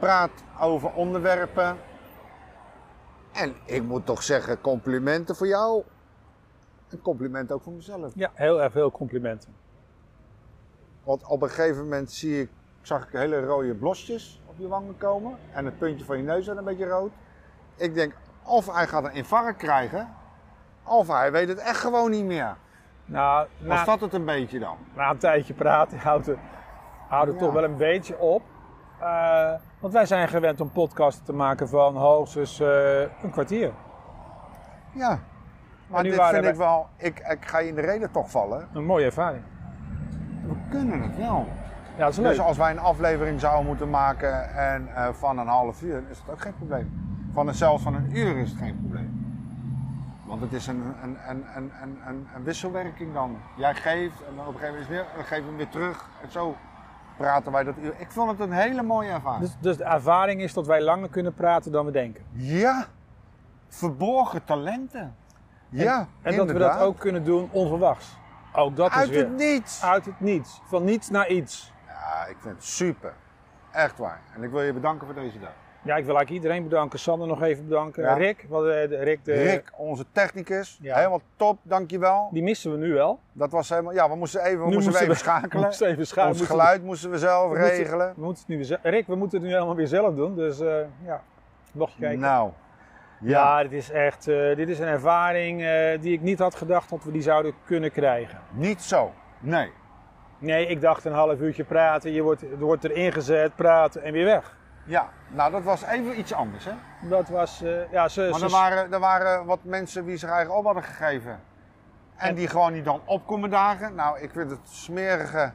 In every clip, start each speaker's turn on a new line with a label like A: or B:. A: gaat over onderwerpen. En ik moet toch zeggen, complimenten voor jou. En complimenten ook voor mezelf.
B: Ja, heel erg veel complimenten.
A: Want op een gegeven moment zie ik, zag ik hele rode blosjes op je wangen komen. En het puntje van je neus werd een beetje rood. Ik denk, of hij gaat een infarct krijgen. Of hij weet het echt gewoon niet meer.
B: Nou,
A: Was
B: na,
A: dat het een beetje dan?
B: na een tijdje praten houdt het, houdt het
A: Ja.
B: toch wel een beetje op. Eh, want wij zijn gewend om podcasts te maken van hoogstens eh, een kwartier.
A: Ja. Maar
B: nu
A: dit
B: waren
A: vind
B: we-
A: ik wel, ik, ik ga je in de reden toch vallen.
B: Een mooie ervaring.
A: We kunnen het wel.
B: Ja, dat is leuk.
A: Dus als wij een aflevering zouden moeten maken en, eh, van een half uur, is dat ook geen probleem. Van een, zelfs van een uur is het geen probleem. Want het is een, een, een, een, een, een, een wisselwerking dan. Jij geeft en dan op een gegeven moment is het weer, dan geef je hem weer terug. En zo praten wij dat uur. Ik vond het een hele mooie ervaring.
B: Dus, dus de ervaring is dat wij langer kunnen praten dan we denken.
A: Ja, verborgen talenten. Ja,
B: En dat we dat
A: inderdaad.
B: ook kunnen doen onverwachts. Ook dat
A: uit
B: is weer
A: het niets.
B: uit het niets. Van niets naar iets.
A: Ja, ik vind het super. Echt waar. En ik wil je bedanken voor deze dag.
B: Ja, ik wil eigenlijk iedereen bedanken. Sander nog even bedanken.
A: Ja.
B: Rick, wat, eh, de- Rick, de,
A: Rick, onze technicus,
B: Ja.
A: helemaal top, dankjewel.
B: die missen we nu wel.
A: Dat was helemaal, ja, we moesten even, we
B: nu
A: moesten even
B: We
A: schakelen.
B: moesten even schakelen.
A: Ons
B: We moesten-
A: geluid moesten we zelf
B: we moesten-
A: regelen.
B: we moeten het nu weer zelf- Rick, we moeten het nu helemaal weer zelf doen. Dus eh, ja, mocht je kijken.
A: Nou, ja,
B: ja, dit is echt eh, dit is een ervaring eh, die ik niet had gedacht dat we die zouden kunnen krijgen.
A: niet zo. Nee.
B: Nee, ik dacht een half uurtje praten. Je wordt, er wordt erin gezet, praten en weer weg.
A: Ja, nou dat was even iets anders, hè.
B: Dat was, eh, ja, ze,
A: Maar
B: ze-
A: er waren, er waren wat mensen die zich eigen op hadden gegeven. En
B: En-
A: die gewoon niet dan opkomen dagen. Nou, ik vind het smerige,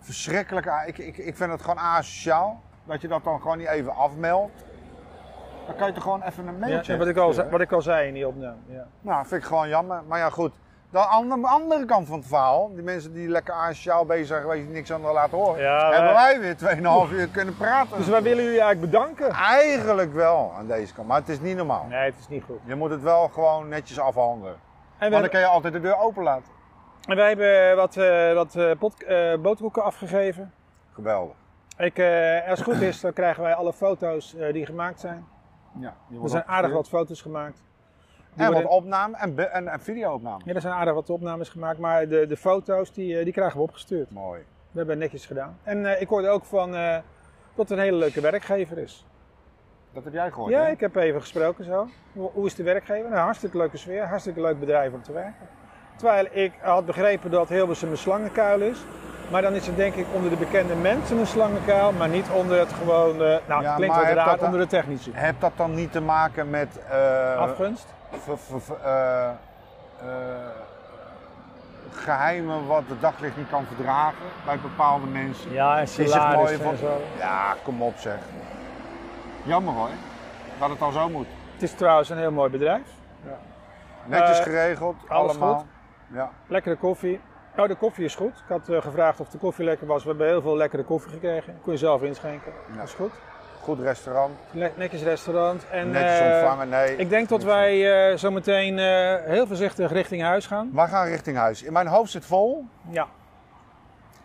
A: verschrikkelijke. ah, Ik, ik, ik vind het gewoon asociaal. Dat je dat dan gewoon niet even afmeldt. Dan kan je toch gewoon even een
B: ja,
A: mailtje.
B: wat, ik al,
A: sturen.
B: ze- wat ik al zei in die opname. Ja.
A: Nou, vind ik gewoon jammer. Maar ja, goed. De andere, andere kant van het verhaal. Die mensen die lekker asociaal bezig zijn geweest, die niks aan de laten horen.
B: Ja, wij-
A: Hebben wij weer 2,5 uur kunnen praten.
B: Dus wij willen jullie eigenlijk bedanken.
A: Eigenlijk wel aan deze kant. Maar het is niet normaal.
B: Nee, het is niet goed.
A: Je moet het wel gewoon netjes afhandelen.
B: En we,
A: Maar dan
B: hebben,
A: kan je altijd de deur open laten.
B: en wij hebben wat, eh wat eh, pot- eh, boterhoeken afgegeven.
A: Geweldig.
B: Ik, eh, als het goed is, dan krijgen wij alle foto's eh, die gemaakt zijn.
A: Ja, die
B: Er
A: wordt
B: zijn aardig wat
A: opgestuurd.
B: foto's gemaakt. Die
A: En
B: worden-
A: wat opname en, be- en, en videoopname.
B: Ja, er zijn aardig wat opnames gemaakt, maar de, de foto's die, eh, die krijgen we opgestuurd.
A: Mooi.
B: We hebben netjes gedaan. En eh, ik hoorde ook van eh, dat het een hele leuke werkgever is.
A: Dat heb jij gehoord,
B: Ja,
A: hè?
B: ik heb even gesproken zo. Hoe, hoe is de werkgever? Nou, hartstikke leuke sfeer, hartstikke leuk bedrijf om te werken. Terwijl ik had begrepen dat Hilversum een slangenkuil is. Maar dan is het denk ik onder de bekende mensen een slangenkuil, maar niet onder het gewoon, eh,
A: Ja,
B: nou het klinkt
A: maar
B: wat
A: heb
B: raar,
A: dat-
B: onder de technici.
A: Heb dat dan niet te maken met... eh,
B: Afgunst?
A: ver- ver- ver- eh, eh, geheimen wat het daglicht niet kan verdragen bij bepaalde mensen?
B: Ja, en
A: Die zich
B: salaris
A: mooi
B: en
A: voor-
B: zo.
A: Ja, kom op zeg. Jammer hoor, dat het al zo moet.
B: Het is trouwens een heel mooi bedrijf.
A: Netjes
B: Eh,
A: geregeld,
B: alles
A: allemaal.
B: goed?
A: Ja.
B: Lekkere koffie. Oh, de koffie is goed. Ik had eh, gevraagd of de koffie lekker was. We hebben heel veel lekkere koffie gekregen. Kun je zelf inschenken.
A: Ja.
B: Dat is goed.
A: Goed restaurant,
B: Le- netjes restaurant. En,
A: netjes
B: eh,
A: ontvangen. Nee,
B: Ik denk dat
A: niks
B: wij eh, zo meteen eh, heel voorzichtig richting huis gaan.
A: Wij gaan richting huis. In mijn hoofd zit vol.
B: Ja,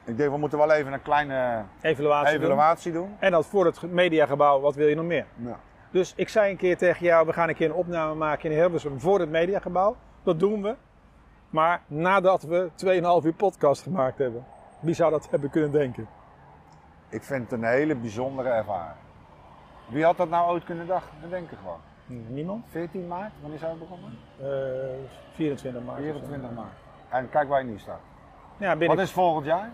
A: Ik denk, we moeten wel even een kleine
B: evaluatie. doen.
A: evaluatie doen.
B: En dat voor het ge- mediagebouw, wat wil je nog meer?
A: Ja.
B: Dus ik zei een keer tegen jou, we gaan een keer een opname maken in Hilversum voor het mediagebouw. Dat doen we. Maar nadat we 2,5 uur podcast gemaakt hebben. Wie zou dat hebben kunnen denken?
A: Ik vind het een hele bijzondere ervaring. Wie had dat nou ooit kunnen dag- bedenken gewoon?
B: Niemand.
A: 14 maart, wanneer zijn we begonnen?
B: Eh 24 maart. of zo.
A: 24 maart. En kijk waar je nu staat.
B: Ja,
A: Wat
B: binnen.
A: is volgend jaar?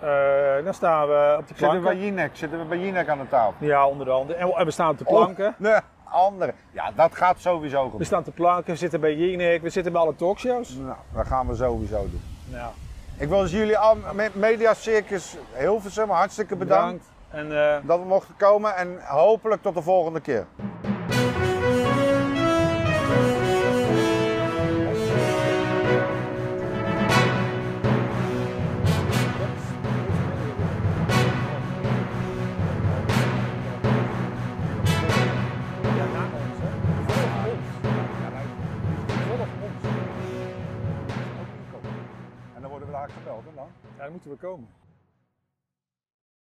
B: eh, dan staan we op de
A: Zitten we bij
B: planken.
A: Jinek? Zitten we bij Jinek aan de tafel?
B: Ja, onder andere. En, en we staan op de planken.
A: Oh, nee, andere. Ja, dat gaat sowieso
B: We
A: gebeuren.
B: staan te planken, we zitten bij Jinek, we zitten bij alle talkshows.
A: Nou, dat gaan we sowieso doen.
B: Nou,
A: Ik wil dus jullie al, me- Media Circus Hilversum hartstikke bedankt.
B: bedankt. En eh,
A: dat we mochten komen en hopelijk tot de volgende keer.
B: ja, na ons, hè. Volg ons. Volg ons.
A: En dan worden we daar gebeld en dan?
B: Ja, dan moeten we komen.